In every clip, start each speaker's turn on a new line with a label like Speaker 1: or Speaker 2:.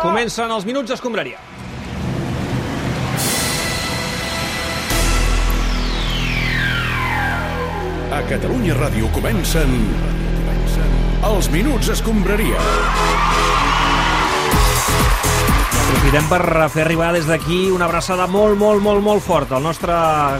Speaker 1: Comencen els minuts d'escombraria.
Speaker 2: A Catalunya Ràdio comencen... comencen els Minuts Escombraria.
Speaker 1: Aprofitem per fer arribar des d'aquí una abraçada molt, molt, molt, molt forta al nostre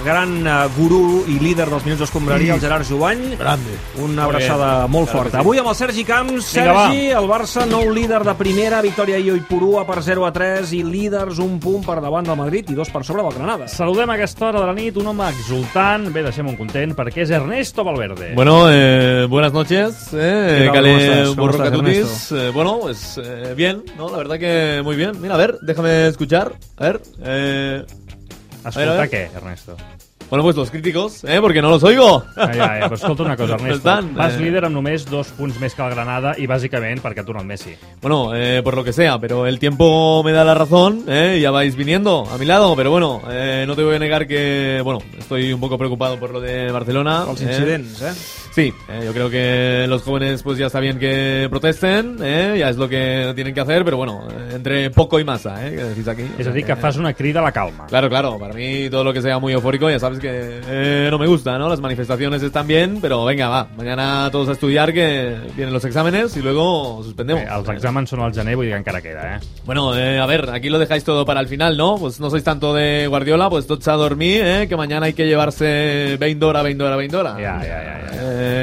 Speaker 1: gran eh, gurú i líder dels Minuts d'Escombraria, el Gerard Jovany.
Speaker 3: Grande.
Speaker 1: Una abraçada molt forta. Avui amb el Sergi Camps.
Speaker 3: Vinga, va.
Speaker 1: Sergi, el Barça, nou líder de primera, victòria i Oipurua per 0 a 3 i líders un punt per davant del Madrid i dos per sobre del Granada.
Speaker 4: Saludem a aquesta hora de la nit un home exultant, bé, deixem-ho content, perquè és Ernesto Valverde.
Speaker 3: Bueno, eh, buenas noches. Eh,
Speaker 1: ¿Qué tal? ¿Cómo estás?
Speaker 3: Cale
Speaker 1: ¿Cómo
Speaker 3: Borroca
Speaker 1: estás,
Speaker 3: Tutis. Eh, bueno, pues eh, bien, ¿no? La verdad que muy bien. Mira, a ver, déjame escuchar. A ver. Eh,
Speaker 4: Escolta
Speaker 3: a veure.
Speaker 4: què, Ernesto?
Speaker 3: bueno, pues los críticos, ¿eh? Porque no los oigo.
Speaker 4: Ah, ja, ja, però escolta una cosa, Ernesto.
Speaker 3: Estan,
Speaker 4: Vas
Speaker 3: eh.
Speaker 4: líder amb només dos punts més que el Granada i bàsicament perquè ha tornat Messi.
Speaker 3: Bueno, eh, por lo que sea, pero el tiempo me da la razón, ¿eh? ya vais viniendo a mi lado, pero bueno, eh, no te voy a negar que, bueno, estoy un poco preocupado por lo de Barcelona.
Speaker 1: Els
Speaker 3: ¿eh?
Speaker 1: incidents, eh?
Speaker 3: Sí, eh, yo creo que los jóvenes pues ya está bien que protesten, ¿eh? ya es lo que tienen que hacer, pero bueno, eh, entre poco y masa, ¿eh? que decís aquí.
Speaker 4: És a dir, que fas una crida a la calma.
Speaker 3: Claro, claro, para mí todo lo que sea muy eufórico ya sabes que eh, no me gusta, ¿no? Las manifestaciones están bien, pero venga, va, mañana todos a estudiar que vienen los exámenes y luego suspendemos.
Speaker 4: Bé, els exàmens són al gener, vull dir que encara queda, eh?
Speaker 3: Bueno, eh, a ver, aquí lo dejáis todo para el final, ¿no? Pues no sois tanto de Guardiola, pues todos a dormir, ¿eh? que mañana hay que llevarse 20 horas, 20 horas, 20 horas.
Speaker 4: Ja, ja, ja. ja.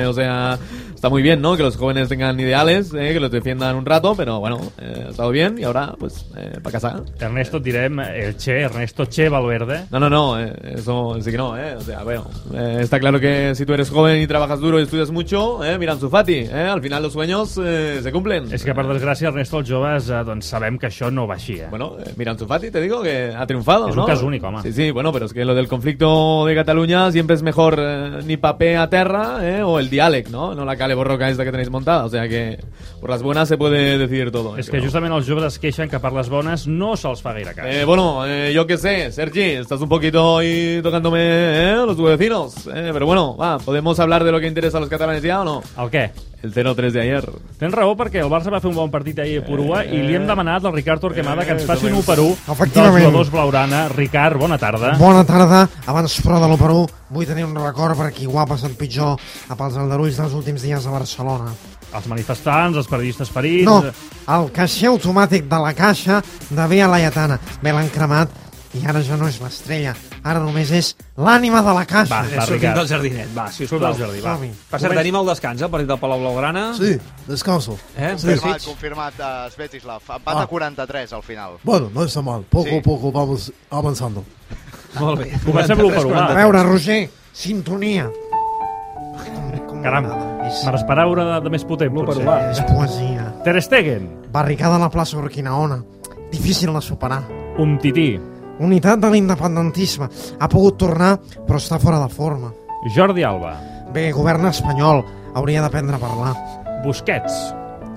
Speaker 3: Eh, o sea, está muy bien, ¿no? Que los jóvenes tengan ideales, eh, que los defiendan un rato, pero bueno, eh, ha estado bien y ahora, pues, eh, para casa.
Speaker 4: Ernesto et direm el Che, Ernesto Che Valverde.
Speaker 3: No, no, no, eh, eso sí que no, ¿eh? O sea, bueno, eh, está claro que si tú eres joven y trabajas duro y estudias mucho, ¿eh? Miran su Fati, ¿eh? Al final los sueños eh, se cumplen.
Speaker 4: És que, per desgràcia, Ernesto, els joves, eh, doncs sabem que això no va així, eh?
Speaker 3: Bueno, eh, Miran Zufati, te digo que ha triunfado.
Speaker 4: Es un
Speaker 3: ¿no?
Speaker 4: caso único, además.
Speaker 3: Sí, sí, bueno, pero es que lo del conflicto de Cataluña siempre es mejor eh, ni papé a terra eh, o el dialect, ¿no? No la cale borroca esta que tenéis montada. O sea que por las buenas se puede decidir todo. eh,
Speaker 4: És que
Speaker 3: creo.
Speaker 4: justament els joves es queixen que per les bones no se'ls fa gaire cas.
Speaker 3: Eh, bueno, eh, yo qué sé, Sergi, estás un poquito ahí tocándome eh, los vecinos. eh, pero bueno, va, ¿podemos hablar de lo que interesa a los catalanes ya o no?
Speaker 4: El què?
Speaker 3: El 0-3 de ayer.
Speaker 4: Tens raó perquè el Barça va fer un bon partit ahir a Porua i
Speaker 3: Eh,
Speaker 4: li hem demanat al Ricard Torquemada que ens faci un 1 per 1 dels
Speaker 5: Efectivament.
Speaker 4: jugadors blaurana. Ricard, bona tarda.
Speaker 5: Bona tarda. Abans, però, de l'1 vull tenir un record per qui ho ha passat pitjor a pels aldarulls dels últims dies a Barcelona.
Speaker 4: Els manifestants, els periodistes ferits...
Speaker 5: No, el caixer automàtic de la caixa de Via Laietana. Bé, l'han cremat i ara ja no és l'estrella. Ara només és l'ànima de la caixa.
Speaker 4: Va,
Speaker 1: Eh,
Speaker 4: va,
Speaker 1: Sortim del
Speaker 4: Ricard.
Speaker 1: jardinet, va,
Speaker 4: Surt
Speaker 1: sisplau.
Speaker 4: del jardí, va.
Speaker 5: Ah, Som-hi.
Speaker 1: Per cert,
Speaker 4: Comença-
Speaker 1: tenim el descans, eh, el partit del Palau Blaugrana.
Speaker 6: Sí, descanso.
Speaker 1: Eh? Sí.
Speaker 7: Confirmat, confirmat, eh, Svetislav. Empat
Speaker 6: Ah.
Speaker 7: a 43 al final.
Speaker 6: Bueno, no está mal. Poco
Speaker 7: Sí.
Speaker 6: a poco vamos avanzando.
Speaker 1: Molt bé.
Speaker 4: Comencem per l'u per u, va.
Speaker 5: A veure, Roger, sintonia. Com, com
Speaker 4: Caram,
Speaker 8: Ah,
Speaker 5: m'agrada.
Speaker 4: me
Speaker 5: és,
Speaker 4: l'esperava una de, de més potent,
Speaker 1: L'u per u,
Speaker 4: potser.
Speaker 1: va.
Speaker 5: és poesia.
Speaker 4: Ter Stegen,
Speaker 5: Barricada a la plaça Urquinaona. Difícil de superar.
Speaker 4: un tití.
Speaker 5: Unitat de l'independentisme. Ha pogut tornar, però està fora de forma.
Speaker 4: Jordi Alba,
Speaker 5: Bé, govern espanyol. Hauria d'aprendre a parlar.
Speaker 4: Busquets,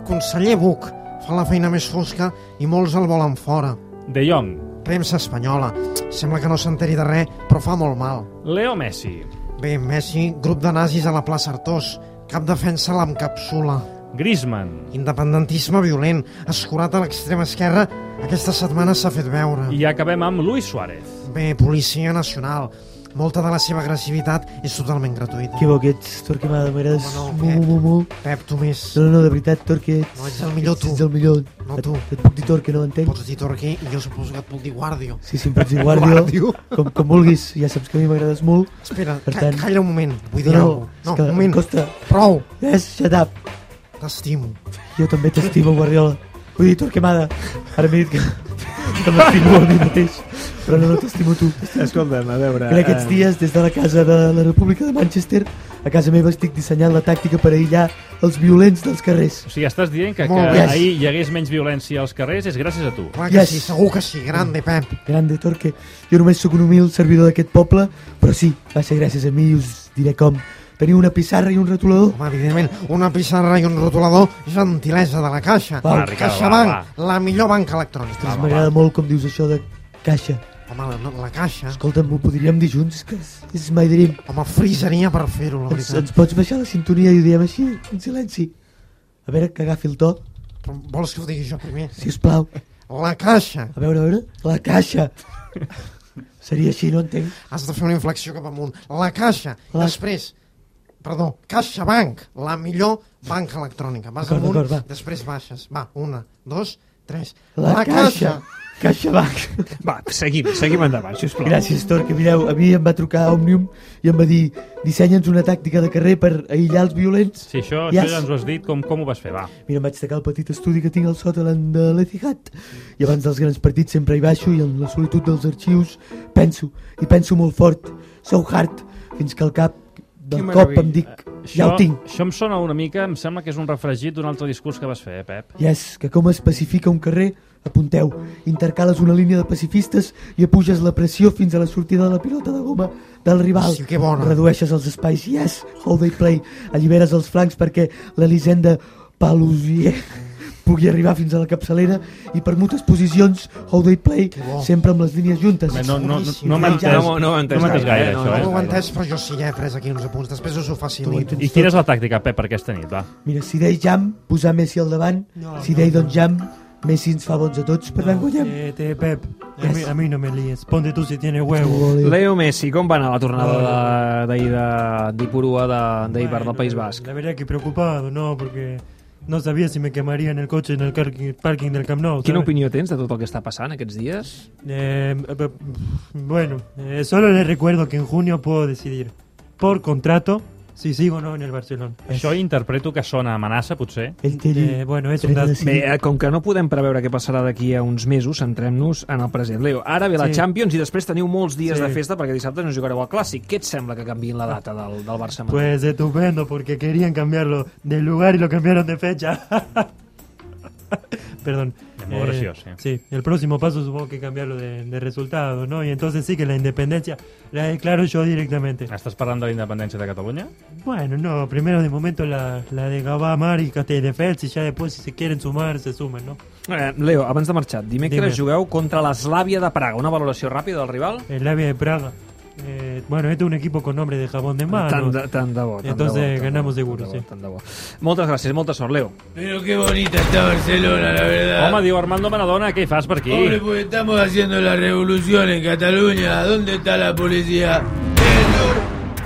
Speaker 5: Conseller Buch fa la feina més fosca i molts el volen fora.
Speaker 4: De Jong,
Speaker 5: Premsa espanyola. Sembla que no s'enteri de res, però fa molt mal.
Speaker 4: Leo Messi,
Speaker 5: Bé, Messi, grup de nazis a la plaça Artós. Cap defensa l'encapsula.
Speaker 4: Griezmann
Speaker 5: Independentisme violent, escurat a l'extrema esquerra, aquesta setmana s'ha fet veure.
Speaker 4: i acabem amb Luis Suárez.
Speaker 5: Bé, Policia Nacional. Molta de la seva agressivitat és totalment gratuïta.
Speaker 8: Que bo que ets, Torquemada, m'agrades
Speaker 5: Home, no,
Speaker 8: molt,
Speaker 5: Pep.
Speaker 8: molt, molt.
Speaker 5: Pep, tu més.
Speaker 8: No, no, de veritat, Torque, ets...
Speaker 5: No, ets el millor, tu.
Speaker 8: Ets el millor.
Speaker 5: No,
Speaker 8: Et-
Speaker 5: tu.
Speaker 8: Et, puc dir Torque, no m'entens?
Speaker 5: Pots dir Torquí i jo suposo que et puc dir Guàrdio.
Speaker 8: Sí, sí, em pots dir Guàrdio, com, com vulguis. Ja saps que a mi m'agrades molt.
Speaker 5: Espera,
Speaker 8: Per
Speaker 5: ca-
Speaker 8: tant-
Speaker 5: calla un moment. Vull dir
Speaker 8: No,
Speaker 5: alguna cosa.
Speaker 8: és
Speaker 5: No,
Speaker 8: que
Speaker 5: un
Speaker 8: em
Speaker 5: moment.
Speaker 8: costa.
Speaker 5: Prou.
Speaker 8: Yes, shut up.
Speaker 5: T'estimo.
Speaker 8: Jo també t'estimo, Guardiola. Vull dir, Torquemada, ara m'he dit que, que m'estimo a mi mateix. Però no, no t'estimo tu.
Speaker 9: Escolta'm, a veure... eh,
Speaker 8: En aquests dies, des de la casa de la República de Manchester, a casa meva estic dissenyant la tàctica per aïllar els violents dels carrers.
Speaker 4: O sigui, estàs dient que, que
Speaker 5: Molt
Speaker 8: bé.
Speaker 4: ahir hi hagués menys violència als carrers és gràcies a tu.
Speaker 5: Clar que
Speaker 8: Yes.
Speaker 5: sí, segur que sí. Grande, Pep.
Speaker 8: Grande, Torque. Jo només sóc un humil servidor d'aquest poble, però sí, va ser gràcies a mi i us diré com. Teniu una pissarra i un retolador?
Speaker 5: Home, evidentment, una pissarra i un rotulador, gentilesa de la caixa.
Speaker 8: Va,
Speaker 4: Ricard, va,
Speaker 5: CaixaBank, la millor banca electrònica.
Speaker 8: Ostres, Doncs m'agrada molt com dius això de caixa.
Speaker 5: Home, la, no, la caixa...
Speaker 8: Escolta'm, ho podríem dir junts, que és, és my dream.
Speaker 5: Home, frisaria per fer-ho, la
Speaker 8: Ens,
Speaker 5: veritat.
Speaker 8: ens pots baixar la sintonia i ho diem així, en silenci? A veure, que agafi el to,
Speaker 5: Però vols que ho digui jo primer?
Speaker 8: si us plau.
Speaker 5: La caixa.
Speaker 8: A veure, a veure, la caixa. Seria així, no entenc.
Speaker 5: Has de fer una inflexió cap amunt. La caixa.
Speaker 8: La-
Speaker 5: La... Després, perdó, caixa banc, la millor banca electrònica. Vas
Speaker 8: D'acord,
Speaker 5: amunt,
Speaker 8: d'acord, va.
Speaker 5: després baixes. Va, una, dos, tres.
Speaker 8: La, caixa. Caixa banc.
Speaker 1: Va, seguim, seguim endavant, sisplau.
Speaker 8: Gràcies, Tor, que mireu, a mi em va trucar Òmnium i em va dir dissenya'ns una tàctica de carrer per aïllar els violents.
Speaker 4: Sí, això,
Speaker 8: I
Speaker 4: això ja ens ho has dit, com, com ho vas fer, va.
Speaker 8: Mira, em vaig tacar el petit estudi que tinc al sòtalan de l'Etihad. I abans dels grans partits sempre hi baixo i en la solitud dels arxius penso, i penso molt fort. Sou hard, fins que al cap del
Speaker 5: Que
Speaker 8: cop
Speaker 5: meravella.
Speaker 8: em dic, ja ho tinc.
Speaker 4: Eh, Això em sona una mica, em sembla que és un refregit d'un altre discurs que vas fer, eh, Pep?
Speaker 8: I és que com es pacifica un carrer, apunteu, intercales una línia de pacifistes i apuges la pressió fins a la sortida de la pilota de goma del rival.
Speaker 5: Sí, que bona.
Speaker 8: Redueixes els espais, yes, how they play, alliberes els flancs perquè l'Elisenda Palusier pugui arribar fins a la capçalera i permutes posicions, how they play, sempre amb les línies juntes.
Speaker 4: No, no, no,
Speaker 5: boníssim.
Speaker 4: no m'ha
Speaker 5: No,
Speaker 4: entès,
Speaker 1: no, no m'ha entès
Speaker 4: no m'ha entès gaire,
Speaker 1: gaire, no,
Speaker 4: això,
Speaker 5: No
Speaker 4: eh?
Speaker 5: ho heu entès, però jo sí, ja he pres aquí 11 punts. Després us ho facilito.
Speaker 4: I quina és la tàctica, Pep, per aquesta nit, va?
Speaker 8: Mira, si dei jam, posar Messi al davant, no, si dei doncs jam, Messi ens fa bons a tots, per tant guanyem.
Speaker 9: Eh, te, Pep, a,
Speaker 8: Yes.
Speaker 9: mí, a mí no me líes. Ponte tú si tienes huevo.
Speaker 1: Leo Messi, com va anar la tornada de- d'ahir de, d'Ipurua de- d'ahir per del
Speaker 9: Bueno,
Speaker 1: País Basc?
Speaker 9: La verdad que preocupado, ¿no? Porque no sabía si me quemaría en el coche en el parking, parking del Camp Nou.
Speaker 1: Quina
Speaker 9: ¿sabes?
Speaker 1: opinió tens de tot el que està passant aquests dies?
Speaker 9: Eh, eh, bueno, eh, solo les recuerdo que en junio puedo decidir por contrato si sigo o no en el Barcelona.
Speaker 4: Això interpreto que sona amenaça, potser.
Speaker 8: Ell té
Speaker 9: Eh,
Speaker 8: allí.
Speaker 9: bueno, es
Speaker 8: Tres
Speaker 9: un dato.
Speaker 8: de cinc.
Speaker 1: Bé, eh, com que no podem preveure què passarà d'aquí a uns mesos, centrem-nos en el present. Leo, ara ve la
Speaker 9: Sí.
Speaker 1: Champions i després teniu molts dies
Speaker 9: Sí.
Speaker 1: de festa perquè dissabte no jugareu al Clàssic. Què et sembla que canviïn la data del, del Barça? Madrid?
Speaker 9: Pues estupendo, porque querían cambiarlo de lugar y lo cambiaron de fecha. Perdón.
Speaker 4: Muy gracioso, eh.
Speaker 9: Sí, el próximo paso supongo que cambiarlo de, de resultado, ¿no? Y entonces sí que la independencia la
Speaker 8: Eh,
Speaker 9: declaro yo directamente.
Speaker 4: Estàs parlant de la independència de Catalunya?
Speaker 9: Bueno, no, primero de momento la, la de Gabá, Mar y Castelldefels y ya después si se quieren sumar, se suman, ¿no?
Speaker 1: Eh, Leo, abans de marxar, dimecres
Speaker 9: Dime.
Speaker 1: jugueu contra l'Eslàvia de Praga. Una valoració ràpida del rival?
Speaker 9: El Labia de Praga. Eh, bueno, este es un equipo con nombre de jabón de mano.
Speaker 1: Tant de, tant de bo. Tant
Speaker 9: Entonces,
Speaker 1: de bo, tant
Speaker 9: ganamos
Speaker 1: de bo,
Speaker 9: seguro,
Speaker 1: tant de bo,
Speaker 9: sí. Eh,
Speaker 1: tant de bo. Moltes gràcies, molta sort, Leo.
Speaker 10: Pero qué bonita está Barcelona, la verdad.
Speaker 4: Home, diu Armando Maradona, què hi fas per aquí?
Speaker 10: Pobre, pues estamos haciendo la revolución en Cataluña. ¿Dónde está la policía? Pedro,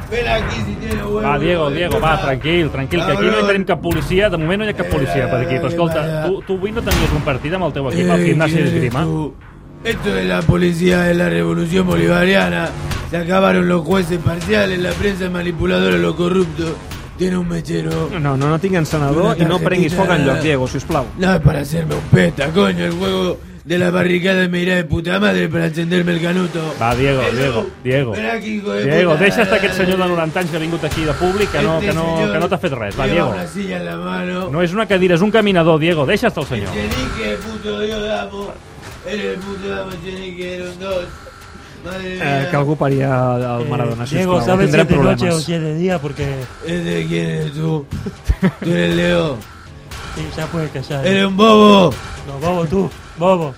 Speaker 10: ven aquí si tiene huevo.
Speaker 4: Va, Diego, Diego, va, tranquil, tranquil, que aquí no hi tenim cap policia, de moment no hi ha cap policia per aquí, però escolta, tu, tu avui no tenies un partit amb el teu equip
Speaker 10: Eh,
Speaker 4: al gimnàs d'esgrima?
Speaker 10: Esto es la policía de la revolución bolivariana. Se acabaron los jueces parciales, la prensa manipuladora, los corruptos. Tiene un mechero.
Speaker 1: No, no, no tinc encenedor
Speaker 10: Una
Speaker 1: i no prenguis foc
Speaker 10: targetita.
Speaker 1: enlloc, Diego, sisplau.
Speaker 10: No es para hacerme un peta, coño. El juego de la barricada me irá de puta madre para encenderme el canuto.
Speaker 4: Va, Diego, Diego, Diego.
Speaker 10: Ven aquí, hijo de
Speaker 4: Diego,
Speaker 10: puta.
Speaker 4: deixa estar aquest senyor de 90 anys que ha vingut aquí de públic, que no,
Speaker 10: Este
Speaker 4: que no,
Speaker 10: señor
Speaker 4: que no t'ha fet res. Va,
Speaker 10: lleva
Speaker 4: Diego.
Speaker 10: una silla en la mano.
Speaker 4: No és una cadira, és un caminador, Diego, deixa estar el senyor.
Speaker 10: Echenique, puto Dios, damo. Eres el puto damo, Echenique, era un dos.
Speaker 1: Eh,
Speaker 10: Madre mía.
Speaker 1: que algú pari el Maradona,
Speaker 9: Eh,
Speaker 1: sisplau.
Speaker 9: Diego,
Speaker 1: Diego,
Speaker 9: ¿sabes si
Speaker 1: tindrem
Speaker 9: es de noche o
Speaker 1: problemes.
Speaker 9: si es de día? Porque
Speaker 10: ¿Este quién eres tú? Tú eres Leo.
Speaker 9: sí, ya puedes callar. ¿eh?
Speaker 10: Eres un bobo.
Speaker 9: No, bobo tú, bobo.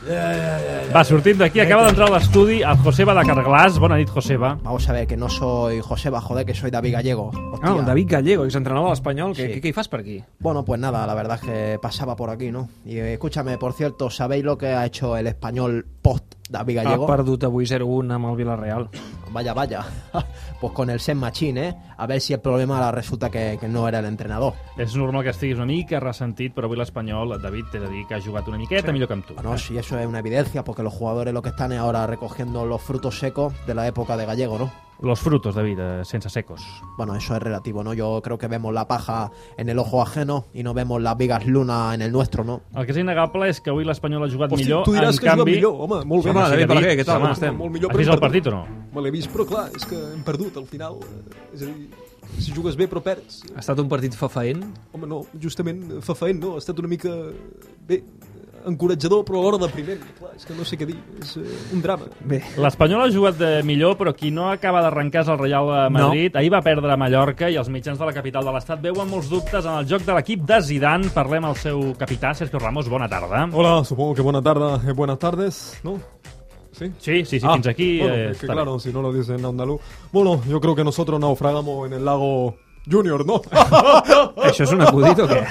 Speaker 4: Va, sortim d'aquí, acaba d'entrar a l'estudi el Joseba de Carglass. Bona nit, Joseba.
Speaker 11: Vamos a ver, que no soy Joseba, joder, que soy David Gallego.
Speaker 1: Ah,
Speaker 11: Hostia.
Speaker 1: el David Gallego, exentrenador de l'Espanyol. Què,
Speaker 11: Sí.
Speaker 1: què, què hi fas per aquí?
Speaker 11: Bueno, pues nada, la verdad es que pasaba por aquí, ¿no? Y eh, escúchame, por cierto, ¿sabéis lo que ha hecho el español post David
Speaker 1: Ha
Speaker 11: Gallego?
Speaker 1: perdut avui 0-1 amb el Villarreal.
Speaker 11: Vaya, vaya. pues con el Sen Machine, ¿eh? A ver si el problema ahora resulta que, que no era el entrenador.
Speaker 4: És normal que estiguis una mica ressentit, però avui l'Espanyol, David, t'he de dir que ha jugat una miqueta millor que amb tu.
Speaker 11: Bueno, si eso es una evidencia, porque los jugadores lo que están es ahora recogiendo los frutos secos de la época de Gallego, ¿no?
Speaker 4: Los frutos, David, eh, sense secos.
Speaker 11: Bueno, eso es relativo, ¿no? Yo creo que vemos la paja en el ojo ajeno y no vemos las vigas luna en el nuestro, ¿no?
Speaker 4: El que és innegable és que avui l'Espanyol ha jugat
Speaker 12: Hosti,
Speaker 4: millor,
Speaker 12: tu diràs
Speaker 4: en
Speaker 12: que ha jugat
Speaker 4: canvi...
Speaker 12: millor, home, molt bé.
Speaker 1: Home,
Speaker 12: Home,
Speaker 1: David,
Speaker 12: David,
Speaker 1: per què? Què tal? Com
Speaker 4: Home,
Speaker 1: estem?
Speaker 12: Molt millor,
Speaker 4: Has
Speaker 12: però
Speaker 4: vist
Speaker 12: hem
Speaker 4: el partit o no?
Speaker 12: Me l'he vist, però clar, és que hem perdut al final. eh, És a dir, si jugues bé però perds.
Speaker 1: Ha estat un partit fafaent.
Speaker 12: Home, no, justament fa faent, no? Ha estat una mica, bé, encoratjador, però alhora depriment. Clar, és que no sé què dir, és eh, un drama.
Speaker 1: Bé.
Speaker 4: L'Espanyol ha jugat de millor, però qui no acaba d'arrencar és el Real de Madrid. No. Ahir va perdre a Mallorca i els mitjans de la capital de l'estat veuen molts dubtes en el joc de l'equip de Zidane. Parlem al seu capità, Sergio Ramos. Bona tarda.
Speaker 12: Hola, supongo que buena tarde, eh, buenas tardes, ¿no? Sí.
Speaker 4: Sí, sí, sí,
Speaker 12: Ah,
Speaker 4: fins aquí...
Speaker 12: Bueno,
Speaker 4: eh,
Speaker 12: es que
Speaker 4: està bé.
Speaker 12: claro, si no lo dicen andaluz. Bueno, yo creo que nosotros naufragamos en el lago Junior, ¿no?
Speaker 1: Això és un acudit o què?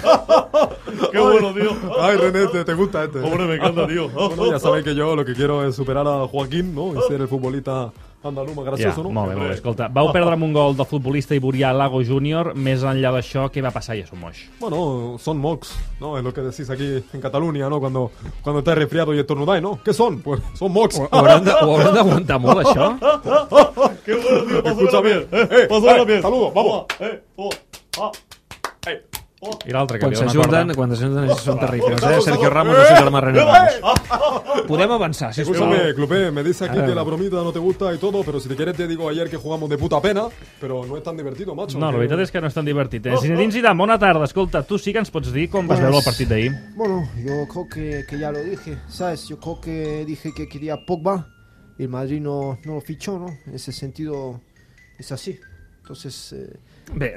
Speaker 13: Qué bueno, tío.
Speaker 14: Ay, René, te, te gusta este.
Speaker 13: Hombre, me encanta, tío.
Speaker 14: Bueno, ya sabéis que yo lo que quiero es superar a Joaquín, ¿no? Y ser el futbolista andaluz más gracioso,
Speaker 4: ja,
Speaker 14: ¿no? Ah.
Speaker 4: Molt bé, molt bé. Escolta, vau perdre amb un gol del futbolista iborià Lago Júnior. Més enllà d'això, què va passar a Somoix?
Speaker 14: Bueno, son mocks, ¿no? Es lo que decís aquí en Cataluña, ¿no? Cuando, cuando estás resfriado y estornudáis, ¿no? ¿Qué son? Pues son mocks.
Speaker 1: Ho hauran de- ho hauran d'aguantar molt, això.
Speaker 13: Qué bueno, tío. Pásame la
Speaker 14: Escúchame.
Speaker 13: piel. Eh, eh, pásame la piel.
Speaker 14: Saludos, vamos.
Speaker 13: Eh, oh, ah, eh, oh.
Speaker 1: I l'altre que
Speaker 13: Quan
Speaker 1: li van
Speaker 13: s'ajunten-
Speaker 1: acordar.
Speaker 13: quan s'ajunten
Speaker 1: això són terribles, eh?
Speaker 14: Saludos,
Speaker 1: Sergio
Speaker 14: saludos.
Speaker 1: Ramos i Superman René
Speaker 14: Eh,
Speaker 1: Ramos.
Speaker 14: eh.
Speaker 1: Podem avançar, sisplau.
Speaker 14: Escúchame, Clupé, me dice aquí
Speaker 1: Ara.
Speaker 14: que la bromita no te gusta y todo, pero si te quieres te digo ayer que jugamos de puta pena, pero no es tan divertido, macho.
Speaker 4: No, la veritat és que no és tan divertit. Eh? Zinedine Zidane, bona tarda. Escolta, tu sí que ens pots dir com vas
Speaker 11: Pues-
Speaker 4: veure el partit d'ahir?
Speaker 11: Bueno, yo creo que, que ya lo dije, ¿sabes? Yo creo que dije que quería a Pogba y el Madrid no, no lo fichó, ¿no? En ese sentido es así. Entonces, eh,
Speaker 1: Bé,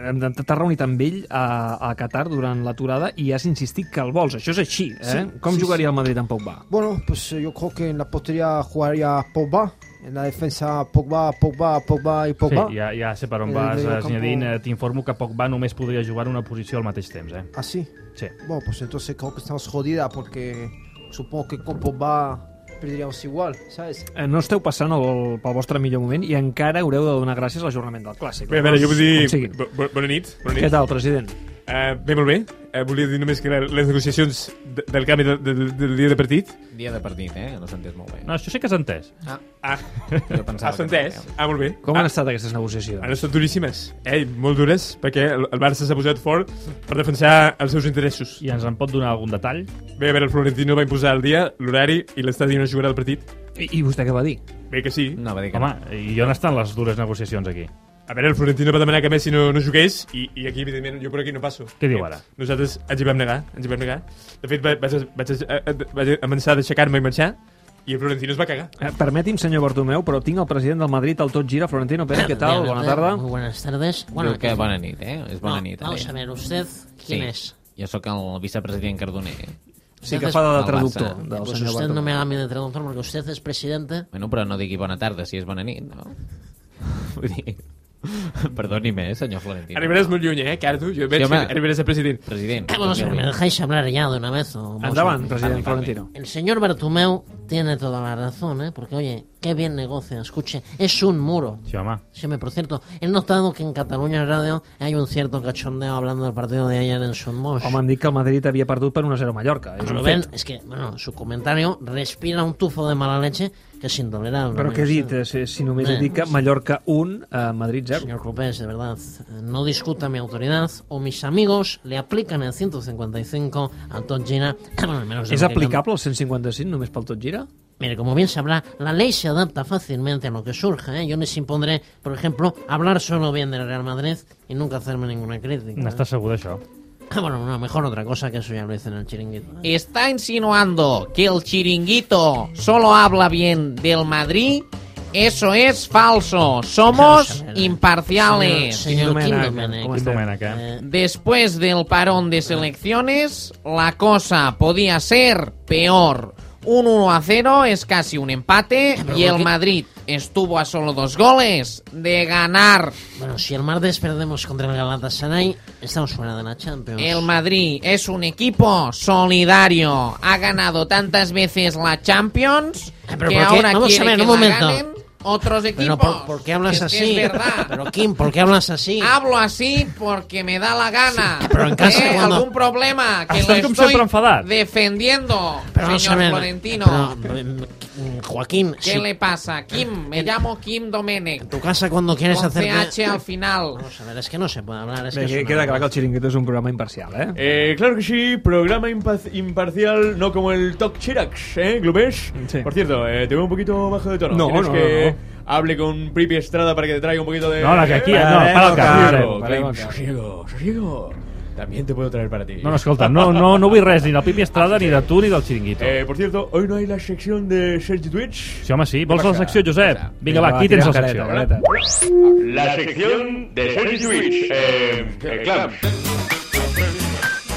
Speaker 1: t'has reunit amb ell a, a Qatar durant l'aturada i has insistit que el vols. Això és així, eh?
Speaker 11: Sí,
Speaker 1: Com
Speaker 11: sí,
Speaker 1: jugaria
Speaker 11: sí.
Speaker 1: el Madrid amb Pogba?
Speaker 11: bueno, pues eh, yo creo que en la portería jugaría Pogba, en la defensa Pogba, Pogba, Pogba y
Speaker 4: Sí,
Speaker 11: Pogba.
Speaker 4: ja, ja sé per on
Speaker 11: En el
Speaker 4: vas, eh,
Speaker 11: mediocampo-
Speaker 4: Zinedine. Eh, T'informo que Pogba només podria jugar en una posició al mateix temps, eh?
Speaker 11: ¿Ah, sí?
Speaker 4: Sí.
Speaker 11: Bueno, pues entonces creo que estamos jodida porque supongo que con Pogba perderíamos igual, ¿sabes?
Speaker 1: Eh, No esteu passant el, pel vostre millor moment i encara haureu de donar gràcies a l'ajornament del Clàssic.
Speaker 15: Bé, a veure, jo vull dir...
Speaker 1: Com sigui.
Speaker 15: bo- bo- Bona nit. Bona nit.
Speaker 1: Què tal, president?
Speaker 15: Uh, bé, molt bé. Uh, volia dir només que les negociacions de, del canvi de, de, del dia de partit...
Speaker 16: Dia de partit, eh? No s'ha entès molt bé.
Speaker 4: No, això sí que s'ha entès.
Speaker 16: Ah.
Speaker 15: Ah.
Speaker 16: Jo pensava
Speaker 15: Has
Speaker 16: que no.
Speaker 15: entès? Ah, molt bé.
Speaker 1: Com han
Speaker 15: Ah,
Speaker 1: estat aquestes negociacions?
Speaker 15: Han estat duríssimes. Eh, molt dures, perquè el el Barça s'ha posat fort per defensar els seus interessos.
Speaker 4: I ens en pot donar algun detall?
Speaker 15: Bé, a veure, el Florentino va imposar el dia, l'horari i l'estadi on es jugarà el partit.
Speaker 1: I, I vostè què va dir?
Speaker 15: Bé que sí.
Speaker 16: No, va dir
Speaker 4: Home, i on estan les dures negociacions aquí?
Speaker 15: A veure, el Florentino va demanar que Messi no, no jugués i, i aquí, evidentment, jo per aquí no passo.
Speaker 4: Què diu ara?
Speaker 15: Nosaltres ens hi vam negar, ens hi vam negar. De fet, va- vaig, vaig, vaig, vaig amenaçar d'aixecar-me i marxar i el Florentino es va cagar.
Speaker 1: Eh, Permeti'm, senyor Bartomeu, però tinc el president del Madrid al Tot Gira, Florentino Pérez, què tal? Bona tarda.
Speaker 17: Muy buenas tardes.
Speaker 16: Bueno, que bona nit, eh? És bona
Speaker 17: No,
Speaker 16: nit.
Speaker 17: vamos
Speaker 16: Adrià.
Speaker 17: a ver, ¿usted quién es?
Speaker 16: Jo sóc el vicepresident Cardoner.
Speaker 17: Sí, que fa de
Speaker 16: Del
Speaker 17: traductor
Speaker 16: Barça.
Speaker 17: del Pues senyor usted Bartomeu. no me haga a mí de traductor porque usted es presidente.
Speaker 16: Bueno, però no digui bona tarda si és bona nit, no? Vull dir... Perdoni'm, eh, senyor Florentino.
Speaker 15: Arribaràs molt lluny, eh, Cardo? Jo veig que arribaràs a president.
Speaker 16: President.
Speaker 17: Eh, bueno, si me dejáis hablar ya de una vez. o-
Speaker 1: Endavant, president Florentino.
Speaker 17: El señor Bartumeu tiene toda la razón, ¿eh? Porque, oye, qué bien negocia, escuche, es un muro.
Speaker 4: Sí, home.
Speaker 17: Sí, hombre, por cierto, he notado que en Cataluña Radio hay un cierto cachondeo hablando del partido de ayer en Somos.
Speaker 1: Home, em dit que el Madrid havia perdut per 1-0 a Mallorca. És un
Speaker 17: Rubén,
Speaker 1: fet.
Speaker 17: es que, bueno, su comentario respira un tufo de mala leche que es intolerable.
Speaker 1: Però
Speaker 17: ¿no?
Speaker 1: què he dit? Eh, Si, si només he
Speaker 17: Bé.
Speaker 1: dit que Mallorca 1, eh, Madrid 0.
Speaker 17: Señor Copés, de verdad, eh, no discuta mi autoridad o mis amigos le aplican el 155 a Todd Gina. Bueno, al menos de
Speaker 1: ¿Es
Speaker 17: lo que
Speaker 1: aplicable el 155 només pel Tot Gira?
Speaker 17: Mire, como bien sabrá, la ley se adapta fácilmente a lo que surja. ¿eh? Yo les impondré, por ejemplo, hablar solo bien del Real Madrid y nunca hacerme ninguna crítica.
Speaker 4: N'estàs segur d'això?
Speaker 17: Ah, bueno, no, mejor otra cosa que eso ya lo hice en el chiringuito. ¿eh?
Speaker 18: Está insinuando que el chiringuito solo habla bien del Madrid. Eso es falso. Somos imparciales.
Speaker 17: Señor- señor Quim Domènech, com
Speaker 4: Quim Domènech, eh?
Speaker 18: Después del parón de selecciones, la cosa podía ser peor. Un 1 a 0 es casi un empate y el Madrid estuvo a solo dos goles de ganar.
Speaker 17: Bueno, si el martes perdemos contra el Galatasaray, estamos fuera de la Champions.
Speaker 18: El Madrid es un equipo solidario. Ha ganado tantas veces la Champions
Speaker 17: Eh, pero
Speaker 18: que
Speaker 17: ¿por qué?
Speaker 18: ahora
Speaker 17: Vamos a
Speaker 18: quiere
Speaker 17: ver,
Speaker 18: que
Speaker 17: un
Speaker 18: la
Speaker 17: momento.
Speaker 18: ganen otros
Speaker 17: Pero
Speaker 18: equipos.
Speaker 17: ¿por, por qué
Speaker 18: Es
Speaker 17: hablas
Speaker 18: que es
Speaker 17: así?
Speaker 18: verdad. Ah,
Speaker 17: Pero Kim, ¿por qué hablas así?
Speaker 18: Hablo así porque me da la gana.
Speaker 17: Pero en casa
Speaker 18: ¿Eh?
Speaker 17: cuando-
Speaker 18: ¿Algún problema? Que
Speaker 17: Estás
Speaker 18: lo
Speaker 17: como
Speaker 18: Ah, estoy
Speaker 17: siempre enfadado.
Speaker 18: defendiendo,
Speaker 17: Pero vamos a
Speaker 18: señor
Speaker 17: ver,
Speaker 18: Florentino.
Speaker 17: pero, mm, mm, Joaquín,
Speaker 18: ¿Qué
Speaker 17: si
Speaker 18: le pasa? Kim, me llamo Kim Domenech.
Speaker 17: tu casa cuando quieres
Speaker 18: Con
Speaker 17: hacer...
Speaker 18: CH al final.
Speaker 17: Vamos a ver, es que no se puede hablar, es
Speaker 1: Bé,
Speaker 17: que es
Speaker 1: que-
Speaker 17: una-
Speaker 1: queda clar que el Chiringuito és un programa imparcial, eh?
Speaker 3: Eh, claro que sí, programa impa- imparcial, no como el Talk Chirax, ¿eh, Glumés? Por cierto, eh, te veo un poquito bajo de tono.
Speaker 15: No,
Speaker 3: ¿Quieres
Speaker 15: no,
Speaker 3: que hable con Pripi Estrada para que te traiga un poquito de... Eh,
Speaker 4: No, la que aquí- no, para el cap,
Speaker 3: Sosiego,
Speaker 4: para el cap.
Speaker 3: Sosiego, sosiego. También te puedo traer para ti.
Speaker 4: No, no, escolta, no, no, no vull res ni del Pipi Estrada, ni de tu, ni del Chiringuito.
Speaker 3: Eh, por cierto, hoy no hay la sección de Sergi Twitch.
Speaker 4: Sí, home, sí. Vols la secció, Josep? Vinga,
Speaker 3: Vinga,
Speaker 4: va,
Speaker 3: va,
Speaker 4: aquí tens la
Speaker 3: tira
Speaker 4: secció.
Speaker 3: careta,
Speaker 4: eh?
Speaker 13: La sección de Sergi Twitch. Eh, eh, claro.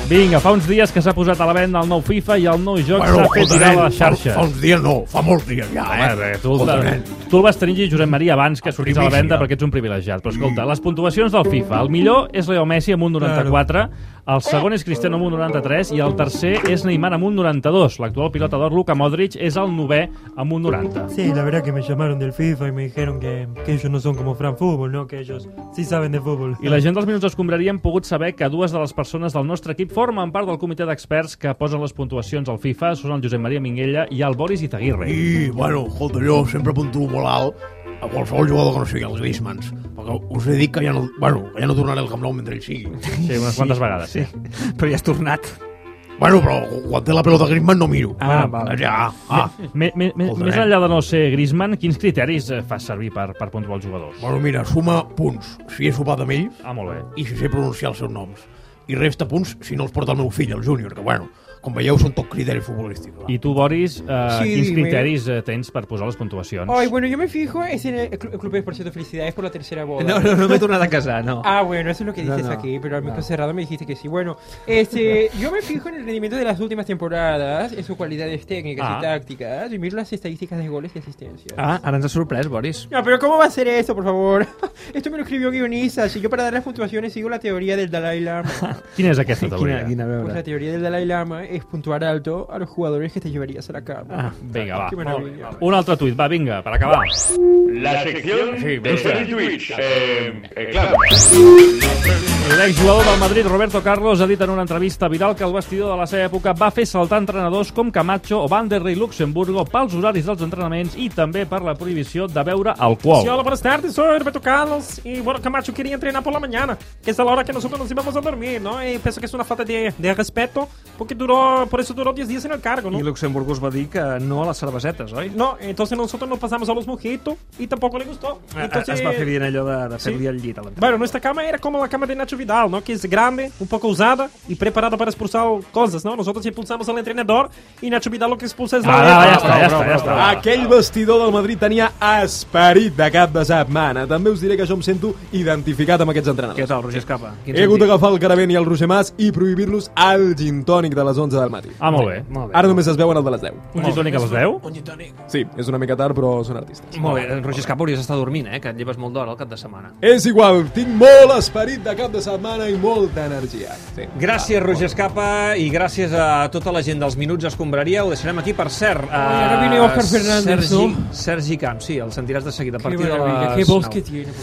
Speaker 4: Vinga, fa uns dies que s'ha posat a la venda el nou FIFA i el nou joc
Speaker 13: Bueno,
Speaker 4: s'ha fet
Speaker 13: joder,
Speaker 4: girar a les
Speaker 13: fa-
Speaker 4: xarxes.
Speaker 13: fa uns dies no, fa molts dies ja, eh?
Speaker 4: Home, bé, tu,
Speaker 13: Joder,
Speaker 4: el,
Speaker 13: nen.
Speaker 4: tu el vas tenir, Josep Maria, abans que sortís a la
Speaker 13: Primícia.
Speaker 4: venda perquè ets un privilegiat. Però escolta, les puntuacions del FIFA. El millor és Leo Messi amb un 94, El segon és Cristiano amb un 93 i el tercer és Neymar amb un 92. L'actual pilota d'or, Luka Modric, és el novè amb un 90.
Speaker 9: Sí, la verdad que me llamaron del FIFA y me dijeron que, que ellos no son como Fran Fútbol, ¿no? Que ellos sí saben de fútbol.
Speaker 4: I la gent dels Minuts Escombraria hem pogut saber que dues de les persones del nostre equip formen part del comitè d'experts que posen les puntuacions al FIFA, són el Josep Maria Minguella i el Boris Itaguirre.
Speaker 19: I, bueno, escolta, jo sempre puntuo molt alt a qualsevol jugador que no sigui els Griezmanns. Perquè us he dit que ja no, bueno, que ja no tornaré al Camp Nou mentre ell sigui.
Speaker 4: Sí, unes quantes vegades, sí.
Speaker 19: Però ja has tornat. Bueno, però quan té la pelota Griezmann no miro.
Speaker 4: Ah, val.
Speaker 19: Ja, ah.
Speaker 4: Me, me, me,
Speaker 19: Escolta, eh?
Speaker 4: més
Speaker 19: nen.
Speaker 4: enllà de no ser Griezmann, quins criteris eh, fas servir per, per puntuar els jugadors?
Speaker 19: Bueno, mira, suma punts si he sopat amb ells
Speaker 4: ah, molt bé.
Speaker 19: i si sé pronunciar els seus noms. I resta punts si no els porta el meu fill, el júnior, que, bueno, com veieu, són tot criteris futbolístics.
Speaker 4: I tu, Boris, eh,
Speaker 19: Sí,
Speaker 4: quins
Speaker 19: dime.
Speaker 4: criteris eh, tens per posar les puntuacions?
Speaker 20: Ay, bueno, yo me fijo, es en el Cl- Club de Esparcido Felicidades por la tercera boda.
Speaker 21: No, no, no me he tornado a casar, no.
Speaker 20: Ah, bueno, eso es lo que
Speaker 21: No,
Speaker 20: dices
Speaker 21: no,
Speaker 20: aquí, pero al micro
Speaker 21: no.
Speaker 20: cerrado me dijiste que sí. Bueno, este, yo me fijo en el rendimiento de las últimas temporadas, en sus cualidades técnicas
Speaker 21: Ah.
Speaker 20: y tácticas, y miro las estadísticas de goles y asistencias.
Speaker 21: Ah, ara ens ha sorprès, Boris.
Speaker 20: No, pero ¿cómo va a ser eso, por favor? Esto me lo escribió guionista, si yo para dar las puntuaciones sigo la teoría del Dalai Lama.
Speaker 4: Quina és aquesta teoria?
Speaker 21: quina, a veure.
Speaker 20: Pues la teoría del Dalai Lama es puntuar alto a los jugadores que te llevarías a la cama.
Speaker 4: Ah, Vinga, va.
Speaker 20: Qué
Speaker 4: Molt
Speaker 20: maravilla.
Speaker 4: bé, Un altre tuit, va, vinga, per acabar.
Speaker 13: La sección de Sergi Lluís. Eh, eh, claro.
Speaker 4: L'exjugador del Madrid, Roberto Carlos, ha dit en una entrevista viral que el vestidor de la seva època va fer saltar entrenadors com Camacho o Van der Rey Luxemburgo pels horaris dels entrenaments i també per la prohibició de beure
Speaker 22: Sí,
Speaker 4: alcohol.
Speaker 22: hola, buenas tardes, soy Roberto Carlos y bueno, Camacho quería entrenar por la mañana, que es la hora que nosotros nos íbamos a dormir, ¿no? Y pienso que es una falta de, de respeto, porque duró, por eso duró 10 días en el cargo, ¿no?
Speaker 21: I Luxemburgo us va dir que no a les cervesetes,
Speaker 1: Eh,
Speaker 21: oi?
Speaker 22: No, entonces nosotros nos pasamos a los mojitos y tampoco le gustó.
Speaker 1: Eh,
Speaker 21: Entonces...
Speaker 22: Entonces,
Speaker 21: Es va fer bien allò de, de
Speaker 22: Sí.
Speaker 21: fer-li el llit a la
Speaker 22: Bueno, nuestra cama era como la cama de Nacho Vidal, ¿no? Que es grande, un poco usada y preparada para expulsar cosas, ¿no? Nosotros expulsamos al entrenador y Nacho Vidal lo que expulsa es la...
Speaker 4: Ah,
Speaker 22: oreja. Ah,
Speaker 4: ja està, ja està, ja està.
Speaker 14: Aquell vestidor del Madrid tenia esperit de cap de setmana. També us diré que jo em sento identificat amb aquests entrenadors.
Speaker 21: Què tal, Roger Escapa? Quin
Speaker 14: He hagut
Speaker 21: sentit?
Speaker 14: d'agafar el Caravent i el Roger Mas i prohibir-los al gin tònic de les 11 del matí.
Speaker 4: Ah, molt bé.
Speaker 21: Molt bé.
Speaker 14: Ara només es veuen el de les 10.
Speaker 4: Un gin tònic a les 10?
Speaker 21: Un gin tònic.
Speaker 14: Sí, és una mica tard, però són artistes.
Speaker 21: Molt bé, en Roger Escapa hauries d'estar dormint, eh? Que et lleves molt d'hora el cap de setmana.
Speaker 14: És igual, tinc molt esperit de cap de setmana i molta energia. Sí.
Speaker 21: Gràcies, Roger Escapa, i gràcies a tota la gent dels Minuts Escombraria. Ho deixarem aquí, per cert. Uh,
Speaker 20: ara viene Óscar Fernández,
Speaker 21: Sergi,
Speaker 20: no?
Speaker 21: Sergi Camps, sí, el sentiràs de seguida. A
Speaker 20: Qué
Speaker 21: partir de
Speaker 20: maravilla,
Speaker 21: les
Speaker 20: qué voz
Speaker 21: 9.
Speaker 20: que tiene, por